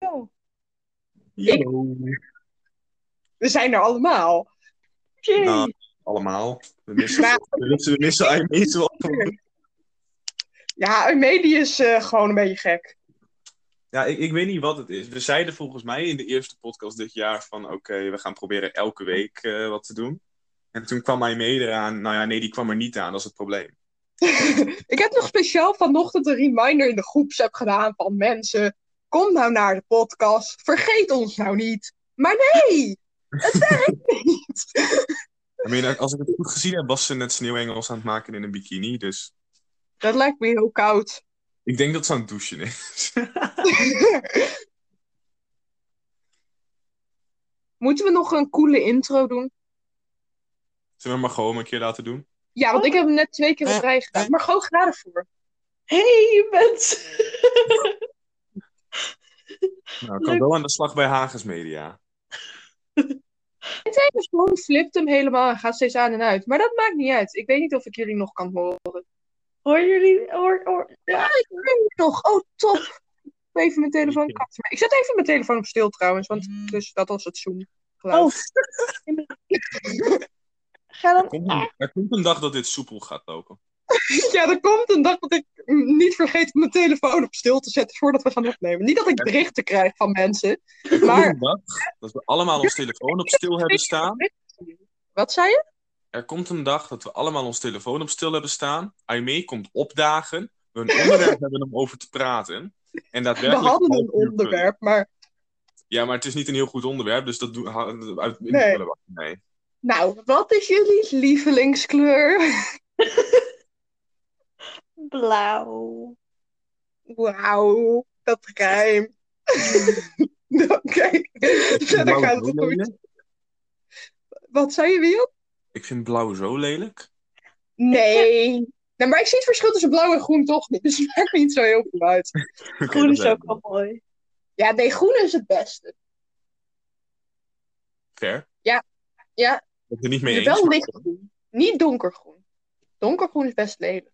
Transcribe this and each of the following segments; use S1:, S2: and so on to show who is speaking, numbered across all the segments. S1: zo.
S2: Yo.
S1: We zijn er allemaal. Jee.
S2: Nou, allemaal. We missen,
S1: Maar-
S2: we missen, we missen eigenlijk niet zo-
S1: Ja, Medi is eh, gewoon een beetje gek.
S2: Ja, ik, ik weet niet wat het is. We zeiden volgens mij in de eerste podcast dit jaar van... Oké, we gaan proberen elke week eh, wat te doen. En toen kwam hij mee eraan. Nou ja, nee, die kwam er niet aan. Dat is het probleem.
S1: ik heb nog speciaal vanochtend een reminder in de groepsapp gedaan van mensen. Kom nou naar de podcast. Vergeet ons nou niet. Maar nee, het werkt niet.
S2: I mean, als ik het goed gezien heb, was ze net sneeuwengels aan het maken in een bikini. Dus
S1: Dat lijkt me heel koud.
S2: ik denk dat ze aan het douchen is.
S1: Moeten we nog een coole intro doen?
S2: Zullen we maar gewoon een keer laten doen?
S1: Ja, want ik heb hem net twee keer op rij gedaan. Maar gewoon ga ervoor. Hey mensen.
S2: Nou, ik kan wel aan de slag bij Hagens Media.
S1: Mijn phone flipt hem helemaal en gaat steeds aan en uit. Maar dat maakt niet uit. Ik weet niet of ik jullie nog kan horen.
S3: Hoor jullie? Hoor, hoor. Ja.
S1: Ik ben hier nog. Oh, top. Ik doe Even mijn telefoon katten. Ik zet even mijn telefoon op stil trouwens. Want dus dat was het Zoom.
S3: Oh.
S1: geluid.
S2: Er
S3: Ga dan.
S2: komt, een, er komt een dag dat dit soepel gaat lopen.
S1: Ja, er komt een dag dat ik mm, niet vergeet om mijn telefoon op stil te zetten voordat we gaan opnemen. Niet dat ik berichten krijg van mensen.
S2: Er komt
S1: Maar-
S2: een dag dat we allemaal ons telefoon op stil hebben staan.
S1: Wat zei je?
S2: Er komt een dag dat we allemaal ons telefoon op stil hebben staan. Aimee komt opdagen. We een onderwerp hebben om over te praten. En
S1: We
S2: daadwerkelijk
S1: hadden een
S2: half uur kunnen.
S1: onderwerp, maar
S2: Ja, maar het is niet een heel goed onderwerp, dus dat doen ha- uit in
S1: Nee.
S2: de prullenbak. Nee.
S1: Nou, wat is jullie lievelingskleur?
S3: Blauw.
S1: Wauw, dat rijmt. Oké, verder
S2: blauw
S1: gaat
S2: zo
S1: het goed.
S2: lelijk.
S1: Wat zei je, Wiel?
S2: Ik vind blauw zo lelijk.
S1: Nee. Nee, Nou, maar ik zie het verschil tussen blauw en groen toch niet. Dus het maakt niet zo heel veel uit.
S2: Oké,
S3: Groen
S2: dat eh,
S3: is
S2: zijn
S3: ook
S2: we.
S3: wel mooi.
S1: Ja, nee, groen is het beste.
S2: Fair.
S1: Ja, ja.
S2: Ik ben het er niet mee
S1: Je
S2: eens.
S1: wel
S2: maar-
S1: lichtgroen, niet donkergroen. Donkergroen is best lelijk.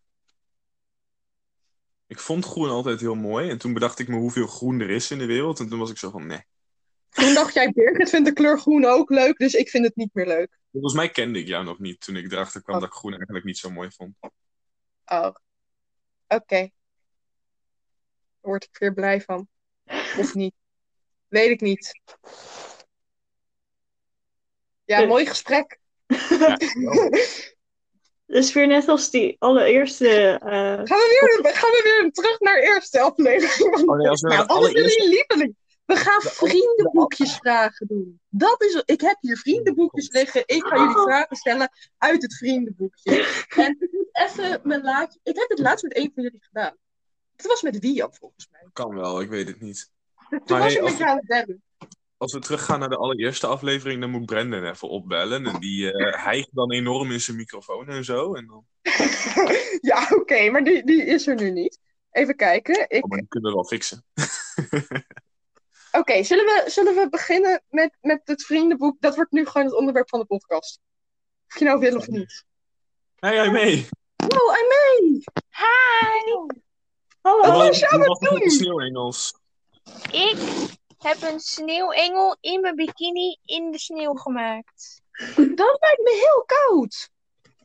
S2: Ik vond groen altijd heel mooi. En toen bedacht ik me hoeveel groen er is in de wereld. En toen was ik zo van, nee.
S1: Toen dacht jij, Birgit vindt de kleur groen ook leuk, dus ik vind het niet meer leuk.
S2: Volgens mij kende ik jou nog niet toen ik erachter kwam
S1: Oh.
S2: dat ik groen eigenlijk niet zo mooi vond.
S1: Oh, oké. Daar word ik weer blij van. Of niet. Weet ik niet. Ja,
S3: Dus-
S1: mooi gesprek.
S2: Ja,
S3: Dat is weer net als die allereerste. eh,
S1: Gaan we weer, gaan we weer terug naar de eerste aflevering?
S2: Oh nee, als we naar
S1: nou,
S2: het
S1: wat is
S2: allereerste-
S1: jullie lieveling? We gaan
S2: De-
S1: vriendenboekjes vragen doen. Dat is, ik heb hier vriendenboekjes liggen. Ik ga jullie vragen stellen uit het vriendenboekje. En ik moet even mijn laatje. Ik heb het laatst met een van jullie gedaan. Het was met Wian volgens mij.
S2: kan wel, ik weet het niet.
S1: Toen
S2: Maar hey,
S1: was ik met
S2: als-
S1: jou aan het bellen.
S2: Als we teruggaan naar de allereerste aflevering, dan moet Brandon even opbellen. En die eh hijgt dan enorm in zijn microfoon en zo. En dan,
S1: Ja, oké, maar die, die is er nu niet. Even kijken. Ik...
S2: oh, maar die kunnen we wel fixen.
S1: Oké, zullen, we, zullen we beginnen met, met het vriendenboek? Dat wordt nu gewoon het onderwerp van de podcast. Of je nou wil of niet.
S2: Hey, jij mee!
S1: Oh, I mee!
S4: Hi!
S3: Hallo.
S1: Oh,
S2: was-
S1: zou
S2: hoe
S1: het
S2: was het met
S1: doen?
S2: de sneeuwengels?
S4: Ik heb een sneeuwengel in mijn bikini in de sneeuw gemaakt.
S1: Dat lijkt me heel koud.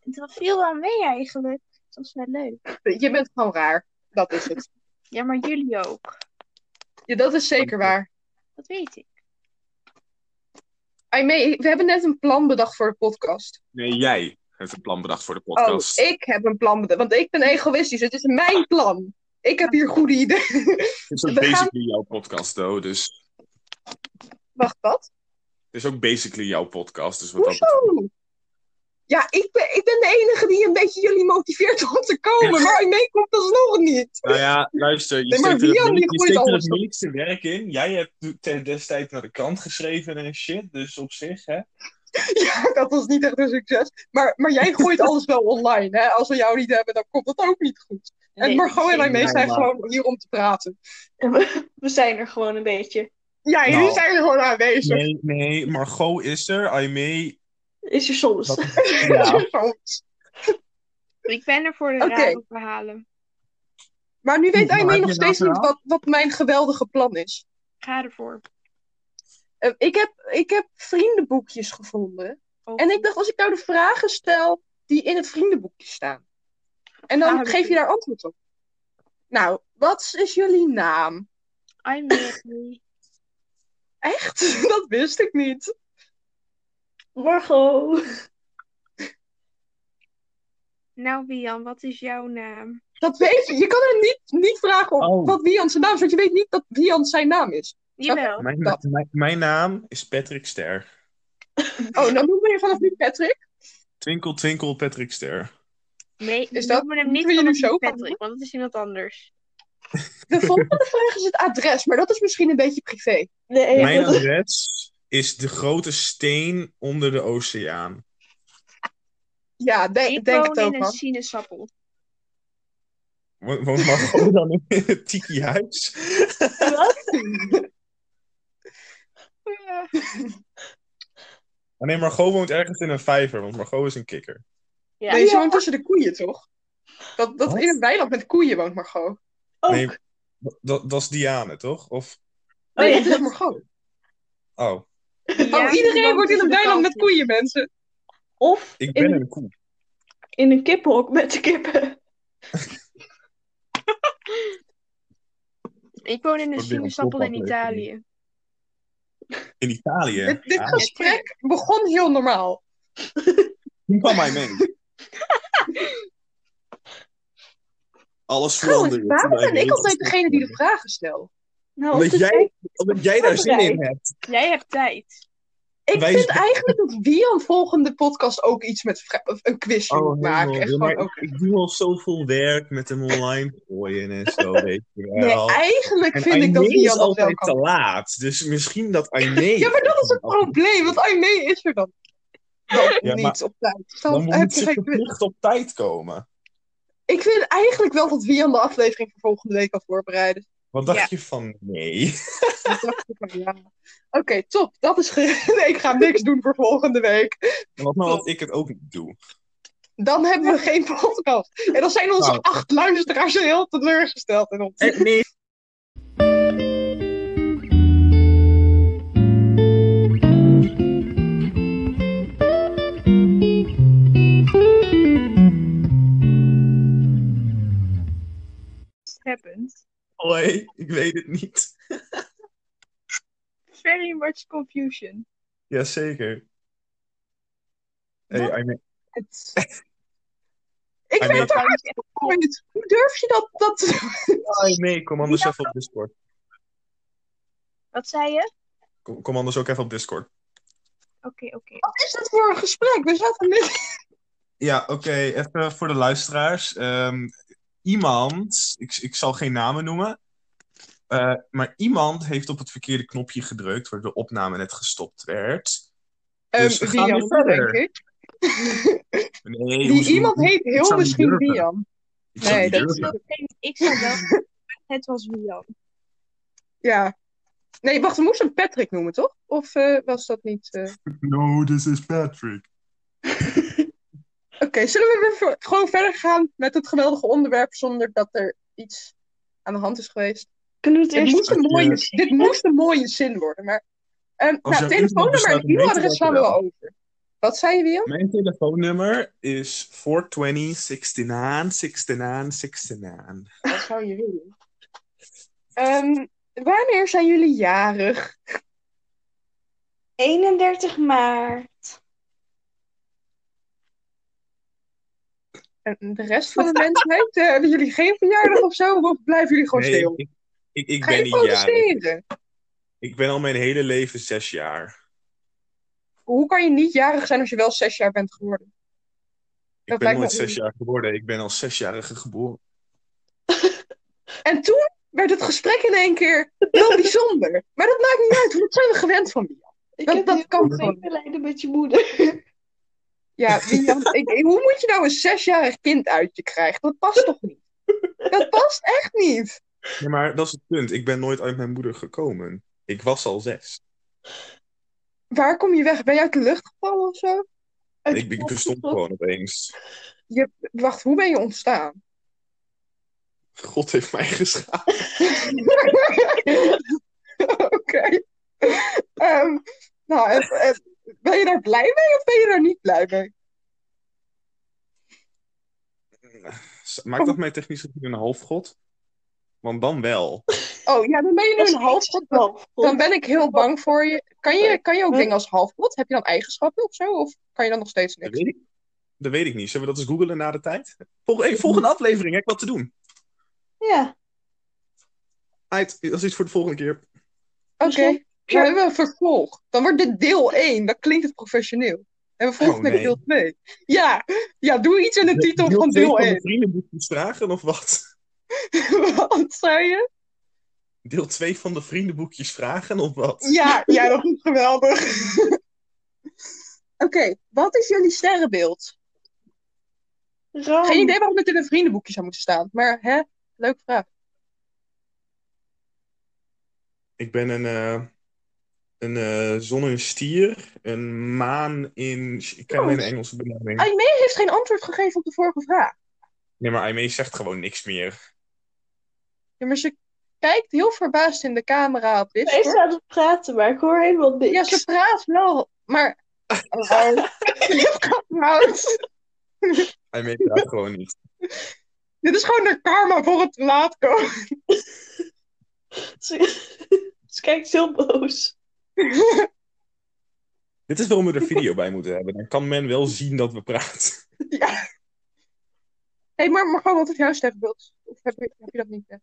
S4: Dat viel wel mee eigenlijk. Dat was wel leuk.
S1: Je bent gewoon raar. Dat is het.
S4: Ja, maar jullie ook.
S1: Ja, dat is zeker waar.
S4: Dat weet ik.
S1: Aimee, we hebben net een plan bedacht voor de podcast.
S2: Nee, jij heeft een plan bedacht voor de podcast. Ah.
S1: Oh, ik heb een plan bedacht. Want ik ben egoïstisch. Het is mijn plan. Ik heb hier goede ideeën.
S2: Het is ook
S1: we gaan-
S2: basically jouw podcast, though. Dus
S1: Wacht, wat?
S2: het is ook basically jouw podcast. Dus wat dat betreft-
S1: Hoezo? Ja, ik ben, ik ben de enige die een beetje jullie motiveert om te komen. Maar Aimee komt alsnog niet.
S2: Nou ja, luister, je
S1: Nee, maar
S2: steekt er,
S1: Wian,
S2: het,
S1: die
S2: min- je
S1: gooit
S2: steekt er
S1: alles
S2: het
S1: op.
S2: minste werk in. Jij hebt te- destijds naar de krant geschreven en shit. Dus op zich, hè.
S1: Ja, dat was niet echt een succes. Maar, maar jij gooit alles wel online. Hè? Als we jou niet hebben, dan komt dat ook niet goed. En
S3: Nee,
S1: Margot en Aimee
S2: nee,
S1: zijn
S2: maar-
S1: gewoon hier om te praten.
S3: We zijn er gewoon een beetje.
S1: Ja, jullie
S2: Nou.
S1: zijn gewoon aanwezig.
S2: Nee, nee, Margot is er. Aimee...
S3: Is er soms.
S4: Ik ben er voor de
S1: Oké.
S4: rare verhalen.
S1: Maar nu weet
S2: Nou,
S1: Aimee
S2: heb
S1: nog
S2: je nou
S1: steeds niet
S2: verhaal?
S1: wat, wat mijn geweldige plan is.
S4: Ga ervoor.
S1: Eh, ik, heb, ik heb vriendenboekjes gevonden.
S4: Oh.
S1: En ik dacht, als ik nou de vragen stel die in het vriendenboekje staan. En dan
S4: Ah, dat
S1: geef je daar antwoord op. Nou, wat is jullie naam?
S4: I'm Mary.
S1: Echt? Dat wist ik niet.
S3: Margot.
S4: nou, Bian, wat is jouw naam?
S1: Dat weet je. Je kan er niet, niet vragen op
S2: Oh.
S1: wat Wian zijn naam is, want je weet niet dat Wian zijn naam is.
S4: Jawel.
S2: Mijn,
S1: Dat.
S2: mijn, mijn naam is Patrick Ster.
S1: Oh, dan noemen we je vanaf nu Patrick.
S2: Twinkel, twinkel, Patrick Ster.
S4: Nee,
S1: Is
S4: is
S1: dat-
S4: dat, hem niet
S1: moeten we jullie
S4: vanaf
S1: zo gaan
S4: Patrick, want dat is iemand anders.
S1: De volgende vraag is het adres, maar dat is misschien een beetje privé.
S3: Nee,
S2: Mijn
S3: dat-
S2: adres is de grote steen onder de oceaan.
S1: Ja, de-
S4: ik
S1: denk
S4: woon
S1: het ook,
S4: in een
S1: man.
S4: sinaasappel.
S2: Wo- Woont Margot dan in het tiki-huis? Oh nee, Margot woont ergens in een vijver, want Margot is een kikker.
S3: Ja. Oh,
S1: Nee, ze
S3: Ja,
S1: woont tussen de koeien, toch? Dat, dat
S2: Wat?
S1: in een weiland met koeien woont Margot.
S3: ook.
S2: Nee, dat, dat is Diane, toch? Of,
S3: Oh,
S1: Nee,
S3: ja.
S1: dat is Margot.
S2: oh,
S1: oh, iedereen wordt in een weiland met koeien, mensen.
S3: Of
S2: ik ben
S3: In-
S2: een koe.
S3: in een kippenhok met de kippen.
S4: Ik woon in een
S2: Wordt weer een
S4: sinaasappel in
S2: klopaflevering.
S4: Italië.
S2: In Italië.
S1: Dit, dit
S2: Ah,
S1: gesprek begon heel normaal.
S2: Toen kwam hij mee. Alles
S1: Trouwens,
S2: veranderde.
S1: waarom
S2: toen hij
S1: ben ik
S2: mee
S1: altijd
S2: was.
S1: degene die de vragen stelt?
S3: Nou,
S2: Omdat
S3: of de
S2: jij, omdat jij daar zin
S3: voorbereid.
S2: in hebt.
S4: Jij hebt tijd.
S1: Ik
S2: Wij-
S1: vind eigenlijk dat Wian volgende podcast ook iets met vra- of een quizje moet maken.
S2: helemaal.
S1: Echt
S2: Ja, Oh, maar
S1: gewoon ook-
S2: ik, ik doe al zoveel werk met hem online gooien en zo, weet je
S1: Nee,
S2: wel.
S1: eigenlijk
S2: en
S1: vind ik dat
S2: Aimee is
S1: Wian dat wel
S2: altijd te
S1: kan.
S2: laat. Dus misschien dat Aimee...
S1: Ja, maar dat is het probleem, want Aimee is er dan, dan
S2: Ja, maar-
S1: niet op tijd. Dan,
S2: Dan
S1: heb
S2: moet
S1: je
S2: ze
S1: geen quiz.
S2: verplicht op tijd komen.
S1: Ik vind eigenlijk wel dat Wian de aflevering voor volgende week kan voorbereiden. Dus
S2: Wat dacht
S4: Ja.
S2: je van nee?
S1: Dat dacht ik van, ja. Oké, top. Dat is ge- nee, ik ga niks doen voor volgende week.
S2: En Wat nou dat ik het ook niet doe?
S1: Dan hebben we geen podcast. En dan zijn onze
S2: Nou.
S1: acht luisteraars heel teleurgesteld in ons.
S2: En nee.
S4: It happens.
S2: Hoi, ik weet het niet.
S4: Very much confusion.
S2: Jazeker. Hey, Aimee.
S1: Ik
S2: Aimee,
S1: weet daar echt gewoon niet. Hoe durf je dat? dat...
S2: Aimee, Oh, kom anders even op Discord.
S4: Wat zei je?
S2: Kom, kom anders ook even op Discord.
S4: Oké, oké.
S1: Wat is dat voor een gesprek? We zaten midden.
S2: Ja, oké, even voor de luisteraars. Ehm, iemand, ik, ik zal geen namen noemen, eh, maar iemand heeft op het verkeerde knopje gedrukt, waardoor de opname net gestopt werd. Dus we
S1: Ehm,
S2: gaan
S1: Wian,
S2: weer verder.
S1: denk ik.
S2: Nee,
S1: Die
S2: hoezo-
S1: iemand heet
S2: Ik
S1: heel
S2: zou niet
S1: misschien
S2: durven.
S1: Wian.
S2: Ik zou
S1: Nee,
S2: niet
S1: dat
S4: Ik
S1: is
S2: durven.
S4: zou, ik zou wel... Het was Bian.
S1: Ja. Nee, wacht, we moesten hem Patrick noemen, toch? Of eh, was dat niet... eh?
S2: No, this is Patrick.
S1: Oké, zullen we weer voor- gewoon verder gaan met het geweldige onderwerp zonder dat er iets aan de hand is geweest?
S3: Kunnen we het
S1: Dit
S3: eerst...
S1: moest een
S2: Als je-
S1: mooie, dit moest een mooie zin worden, maar... eh, nou,
S2: jouw
S1: telefoonnummer
S2: inbox Oh, bestaat, dan
S1: en
S2: weten we
S1: e-mailadres
S2: dat
S1: slaan we
S2: wel.
S1: wel over. Wat zei je, Wian?
S2: Mijn telefoonnummer is 420 69 69 69.
S1: Wat zou je willen? Ehm, wanneer zijn jullie jarig?
S3: 31 maart.
S1: En de rest van de mensheid, eh, hebben jullie geen verjaardag of zo? Of blijven jullie gewoon
S2: Nee,
S1: stil?
S2: ik, ik, ik
S1: Ga
S2: ben
S1: je
S2: niet jarig.
S1: protesteren?
S2: Ik ben al mijn hele leven zes jaar.
S1: Hoe kan je niet jarig zijn als je wel zes jaar bent geworden?
S2: Ik
S1: Dat
S2: ben
S1: lijkt me
S2: nooit zes jaar geworden. Ik ben als zesjarige geboren.
S1: En toen werd het gesprek in één keer heel bijzonder. Maar dat maakt niet uit, want dat zijn we gewend van Bian.
S3: Ik
S1: Dat-
S3: heb
S1: dat
S3: heel
S1: kan
S3: veel
S1: gewoon.
S3: medelijden met je moeder.
S1: Ja, Bian, ik, ik- hoe moet je nou een zesjarig kind uit je krijgen? Dat past toch niet? Dat past echt niet.
S2: Nee, maar dat is het punt. Ik ben nooit uit mijn moeder gekomen. Ik was al zes.
S1: Waar kom je weg? Ben je uit de lucht gevallen of zo?
S2: Ik, ik bestond gewoon opeens.
S1: Wacht, hoe ben je ontstaan?
S2: God heeft mij geschapen.
S1: Oké, Ehm, nou, en- en ben je daar blij mee of ben je daar niet blij mee?
S2: Maakt dat mij technisch gezien een halfgod? Want dan wel.
S1: Oh ja, dan ben je nu een halfgod. Dan- Dan ben ik heel bang voor je. Kan je, kan je ook dingen als halfgod? Heb je dan eigenschappen of zo? Of kan je dan nog steeds
S2: Dat
S1: niks?
S2: weet ik, dat weet ik niet. Zullen we dat eens googelen na de tijd? Vol- hey, volgende aflevering heb ik wat te doen.
S3: Ja.
S2: Uit, dat is iets voor de volgende keer.
S1: Oké,
S3: Misschien-
S1: dan hebben we een vervolg. Dan wordt dit deel 1. Dan klinkt het professioneel. En we volgen
S2: Oh,
S1: met
S2: nee.
S1: deel 2. Ja, ja, doe iets in de titel van
S2: twee
S1: deel
S2: van
S1: 1.
S2: de vriendenboek moet vragen of wat?
S1: Wat zei je?
S2: Deel 2 van de vriendenboekjes vragen of wat?
S1: Ja, ja, dat is geweldig. Oké, wat is jullie sterrenbeeld?
S3: Ram.
S1: Geen idee waarom het in een vriendenboekje zou moeten staan. Maar hè, leuke vraag.
S2: Ik ben een, eh, een eh, zon in stier, een maan in... Ik ken
S1: Oh.
S2: alleen de Engelse benaming.
S1: Aimee heeft geen antwoord gegeven op de vorige vraag.
S2: Nee, maar Aimee zegt gewoon niks meer.
S1: Ja, maar ze kijkt heel verbaasd in de camera op
S3: Ik
S1: Discord.
S3: sta aan het praten, maar ik hoor helemaal niks.
S1: Ja, ze praat wel, maar... Oh, wow. Koud.
S2: Aimee praat gewoon niet.
S1: Dit is gewoon de karma voor het te laat komen.
S3: Ze- ze kijkt heel boos.
S2: Dit is waarom we er video bij moeten hebben. Dan kan men wel zien dat we praten.
S1: Hé, hey, maar Margot, wat is jouw sterrenbeeld? Of heb je, heb je dat niet? hè?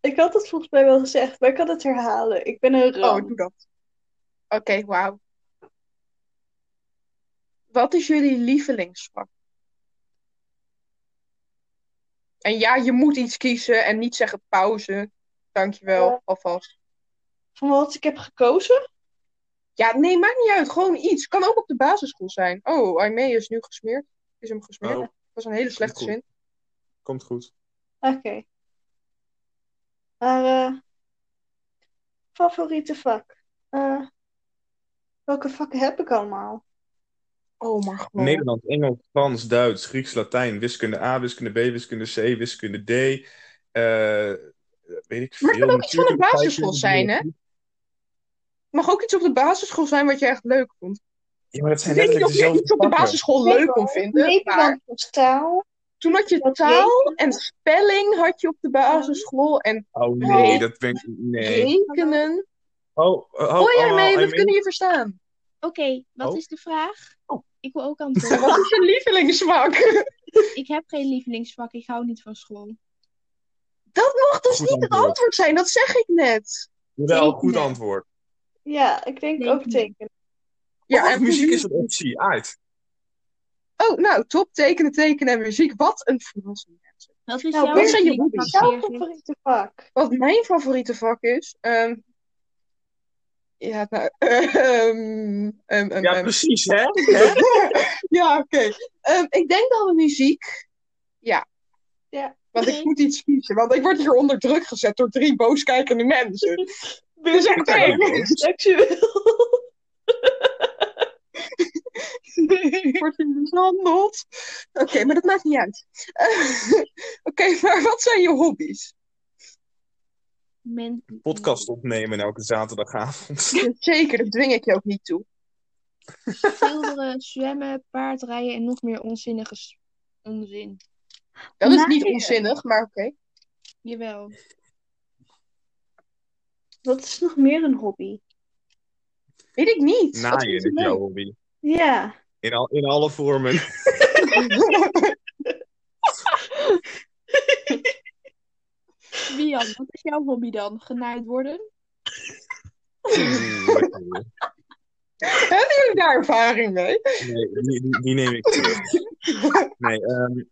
S3: Ik had het volgens mij wel gezegd, maar ik kan het herhalen. Ik ben een ram.
S1: Oh, doe dat. Oké, wauw. Wat is jullie lievelingsvak? En ja, je moet iets kiezen en niet zeggen pauze. Dankjewel,
S3: Ja.
S1: alvast.
S3: Van wat ik heb gekozen?
S1: Ja, nee, maakt niet uit. Gewoon iets. Kan ook op de basisschool zijn. Oh, Aimee is nu gesmeerd. Is hem gesmeerd.
S2: Oh.
S1: Dat was een hele slechte
S2: Goed.
S1: zin.
S2: Komt goed.
S3: Oké. Maar, eh, favoriete vak? Eh, welke vakken heb ik allemaal?
S1: Oh, maar gewoon.
S2: Nederlands, Engels, Frans, Duits, Grieks, Latijn, wiskunde A, wiskunde B, wiskunde C, wiskunde D. eh, weet ik veel.
S1: Maar het kan ook iets van de
S2: Natuurkunde,
S1: basisschool zijn, hè? Mag ook iets op de basisschool zijn wat je echt leuk vond.
S2: Ja, maar dat zijn
S1: Ik weet niet
S2: letterlijk
S1: of je
S2: dezelfde
S1: iets op de
S2: vakken.
S1: basisschool leuk kon vinden, maar
S3: Nederlands was taal.
S1: toen had je
S3: Wat
S1: taal en spelling had je op de basisschool en
S2: Oh nee,
S1: Nee.
S2: dat ben ik... Nee.
S1: rekenen.
S2: Oh, oh, oh,
S1: Oh ja, nee,
S2: I
S1: dat
S2: mean-
S1: kunnen je verstaan.
S5: Oké, wat
S2: Oh.
S5: is de vraag?
S2: Oh.
S5: Ik wil ook
S1: En
S5: antwoorden.
S1: Wat is je lievelingsvak?
S5: ik heb geen lievelingsvak, ik hou niet van school.
S1: Dat mocht dus
S2: Goed
S1: niet het
S2: antwoord.
S1: antwoord zijn, dat zeg ik net.
S2: Jawel, goed
S5: Tekenen.
S2: antwoord.
S3: Ja, ik denk ook tekenen.
S2: Ja,
S1: en-
S2: Oh, muziek is een optie, uit.
S1: Oh, nou, top, tekenen, tekenen en muziek. Wat een verrassing. mensen.
S5: Wat is
S3: Nou,
S5: jouw
S1: waar zijn je
S5: lievelingsvak,
S1: hobby's?
S3: Jouw
S5: Birgit?
S3: favoriete vak?
S1: Wat mijn favoriete vak is... ehm, ja, nou... ehm, ehm, ehm,
S2: Ja,
S1: ehm.
S2: precies, hè?
S1: Ja, oké. Ehm, ik denk dan muziek. Ja.
S3: Ja.
S1: Want ik moet iets kiezen, want ik word hier onder druk gezet door drie booskijkende mensen. Dus oké.
S2: Kijk,
S3: Seksueel.
S1: Ik word hier mishandeld. Oké, maar dat maakt niet uit. Eh, oké, maar wat zijn je hobby's?
S5: Men-
S2: Podcast opnemen elke zaterdagavond.
S1: Zeker, dat dwing ik je ook niet toe.
S5: Schilderen, zwemmen, paardrijden en nog meer onzinnige s- onzin.
S1: Dat is
S3: Maar-
S1: niet onzinnig, maar oké.
S5: Jawel.
S3: Wat is nog meer een hobby?
S1: Weet ik niet. Wat
S2: Naaien
S1: vind
S2: is
S1: je leuk?
S2: jouw hobby.
S3: Ja.
S2: In, al, in alle vormen.
S5: Wian, wat is jouw hobby dan? Genaaid worden?
S2: nee,
S1: Hebben jullie daar ervaring mee?
S2: die, die- die neem ik terug. Nee, ehm,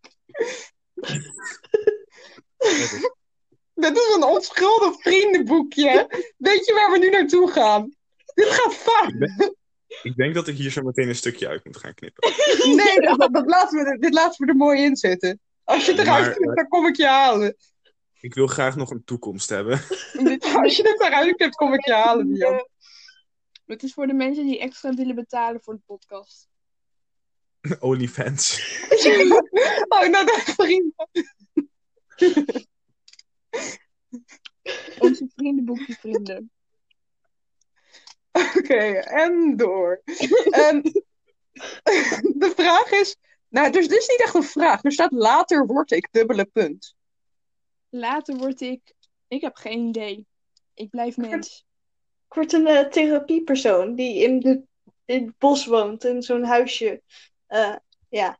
S1: Dit is een onschuldig vriendenboekje. Weet je waar we nu naartoe gaan? Dit gaat fout.
S2: ik denk dat ik hier zo meteen een stukje uit moet gaan knippen.
S1: Nee, dat, dat, dat laten we, er- dit laten we er mooi in zitten. Als je het eruit
S2: Maar,
S1: knipt,
S2: eh,
S1: dan kom ik je halen.
S2: Ik wil graag nog een toekomst hebben.
S1: Dit- Als je het eruit knipt, kom ik je halen, Jan.
S5: Het is voor de mensen die extra willen betalen voor de podcast.
S2: OnlyFans.
S1: Oh, nou, dat is prima.
S5: Onze vriendenboekje vrienden.
S1: Oké, en door. Ehm, de vraag is... Nou, dus dit is niet echt een vraag. Er staat later word ik, dubbele punt.
S5: Later word ik... Ik heb geen idee. Ik blijf mens.
S3: Ik word een eh, therapiepersoon die in, de, in het bos woont, in zo'n huisje. Eh, ja.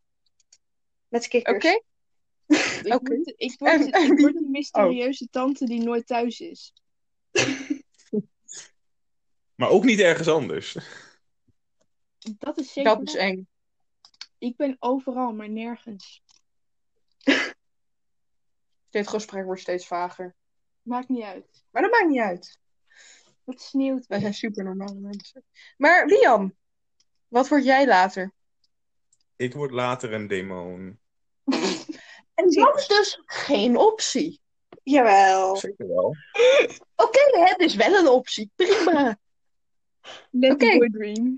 S3: Met
S1: Oké?
S3: kikkers.
S5: Ik
S1: Oké.
S5: word, ik word,
S1: En- en
S5: ik
S1: wie- Oh.
S5: word een mysterieuze tante die nooit thuis is.
S2: Maar ook niet ergens anders.
S5: Dat is zeker.
S1: Dat is eng.
S5: Ik ben overal, maar nergens.
S1: Dit gesprek wordt steeds vager.
S5: Maakt niet uit.
S1: Maar dat maakt niet uit.
S5: Het sneeuwt
S1: Wij
S5: weer.
S1: zijn super normale mensen. Maar Liam, wat word jij later?
S2: Ik word later een demon.
S1: En dat is dus geen optie. Oh.
S3: Jawel.
S2: Zeker wel.
S1: Oké, het is wel een optie. Prima.
S5: Let
S1: Oké.
S5: the boy dream.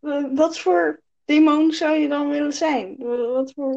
S3: Eh, Wat voor demon zou je dan willen zijn? Eh, Wat voor...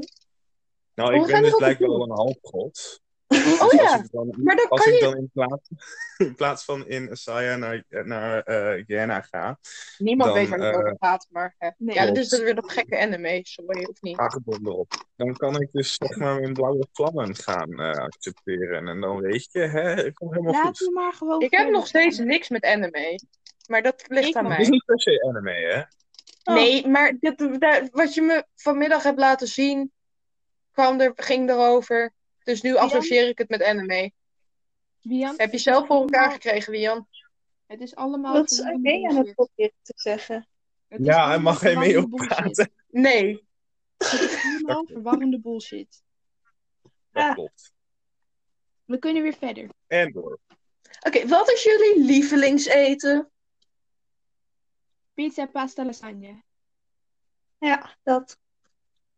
S2: Nou,
S1: We
S2: ik
S1: gaan
S2: ben dus
S1: erop
S2: blijkbaar
S1: doen.
S2: wel een halfgod.
S1: Oh
S2: Dus
S1: ja,
S2: Als ik dan,
S1: maar dan
S2: als
S1: kan
S2: ik
S1: je...
S2: dan in, plaats, in plaats van in Asaya naar, naar eh, Jena ga,
S1: Niemand
S2: dan,
S1: weet waar het
S2: eh,
S1: over gaat, maar... hè.
S5: Nee.
S1: Ja, dat
S2: Klopt.
S1: is dus weer dat gekke anime, sorry, of niet?
S2: aangebonden erop, dan kan ik dus zeg maar mijn blauwe vlammen gaan eh, accepteren. En dan weet je, hè, het komt helemaal
S5: Laat
S2: goed.
S5: me maar gewoon.
S1: Ik heb
S5: verder
S1: nog steeds
S5: gaan.
S1: niks met anime. Maar dat ligt
S5: Ik
S1: aan
S5: ook.
S2: Het is
S1: mij.
S2: niet per se anime, hè?
S3: Oh.
S1: Nee, maar dit, daar- wat je me vanmiddag hebt laten zien, kwam er, ging erover. Dus nu associeer ik het met anime.
S5: Wian,
S1: Heb je zelf voor elkaar gekregen, Wian?
S5: het is allemaal.
S3: Wat zou
S5: verwarrende
S3: jij aan het
S5: bullshit.
S3: proberen te zeggen?
S5: Het is
S2: Ja,
S5: allemaal
S2: en mag hij mee
S5: verwarrende
S2: ook
S5: bullshit.
S2: praten?
S1: Nee.
S5: Het is allemaal verwarrende bullshit.
S2: Dat
S3: Ah.
S2: klopt.
S5: We kunnen weer verder.
S2: En door.
S1: Oké, wat is jullie lievelingseten?
S5: Pizza, pasta, lasagne.
S3: Ja, dat.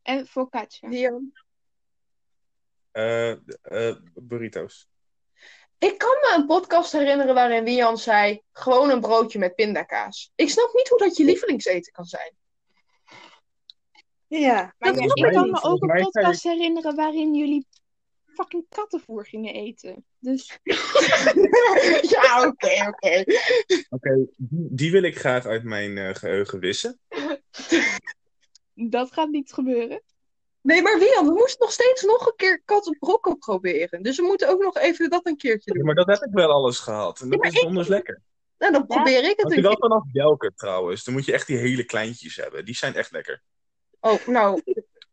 S5: En focaccia.
S1: Wian?
S2: Eh, eh, burritos.
S1: Ik kan me een podcast herinneren waarin Wian zei: gewoon een broodje met pindakaas. Ik snap niet hoe dat je lievelingseten kan zijn.
S3: Ja.
S5: Maar
S1: dat
S5: ja,
S1: klopt
S5: ik kan
S1: niet.
S5: me ook
S2: Volgens
S5: een
S2: mij zei
S5: podcast herinneren waarin jullie fucking kattenvoer gingen eten. Dus
S1: ja, oké, oké.
S2: Oké, die, die wil ik graag uit mijn eh, geheugen wissen.
S5: dat gaat niet gebeuren.
S1: Nee, maar Wian, we moesten nog steeds nog een keer kat op brokkel proberen. Dus we moeten ook nog even dat een keertje doen.
S2: Maar dat heb ik wel alles gehad. En dat
S1: Ja, maar
S2: is donders lekker.
S1: Nou, dan probeer ik het
S2: Als je dat
S1: natuurlijk.
S2: vanaf Jelker trouwens, dan moet je echt die hele kleintjes hebben. Die zijn echt lekker.
S1: Oh, nou,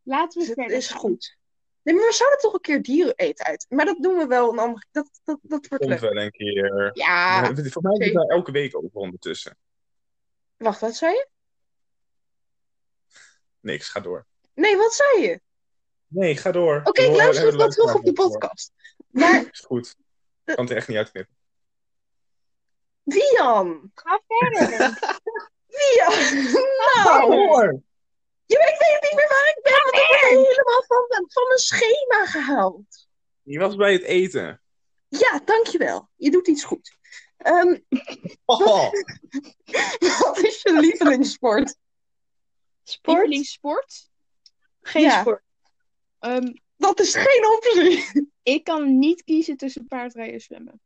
S5: Laten we
S1: dat
S5: verder.
S1: is goed. Nee, maar we zouden toch een keer dieren eten uit. Maar dat doen we wel een andere Dat, dat, dat wordt
S2: Komt
S1: leuk.
S2: wel een keer.
S1: Ja,
S2: Ja, Voor mij is het nou elke week over ondertussen.
S1: wacht, wat zei je?
S2: Niks, ga door.
S1: Nee, wat zei je?
S2: Nee, ga door.
S1: Oké, ik luister het wel terug op de podcast. Maar
S2: Is goed. Ik kan het er echt niet uitknippen.
S1: Wian,
S4: Ga verder.
S1: Wian,
S2: Ga
S1: nou.
S2: door!
S1: Je weet, ik weet niet meer waar ik ben, want ik ben helemaal van, van mijn schema gehaald.
S2: Je was bij het eten.
S1: Ja, dankjewel. Je doet iets goed. Ehm,
S2: Oh,
S1: wat is je lievelingssport?
S3: Sport?
S5: Lievelingssport.
S3: Geen
S1: Ja.
S3: sport.
S5: Ehm,
S1: Dat is geen optie.
S5: ik kan niet kiezen tussen paardrijden en zwemmen.